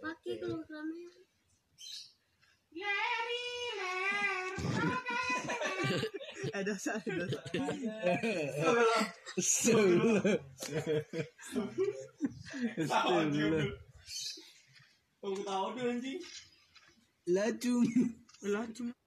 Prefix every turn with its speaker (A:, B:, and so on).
A: Paki programnya.
B: Eh dosa dosa.
C: Stövlar. Stövlar.
D: Tahu tahu dia anjing.
C: Lacung.
B: Lah cuma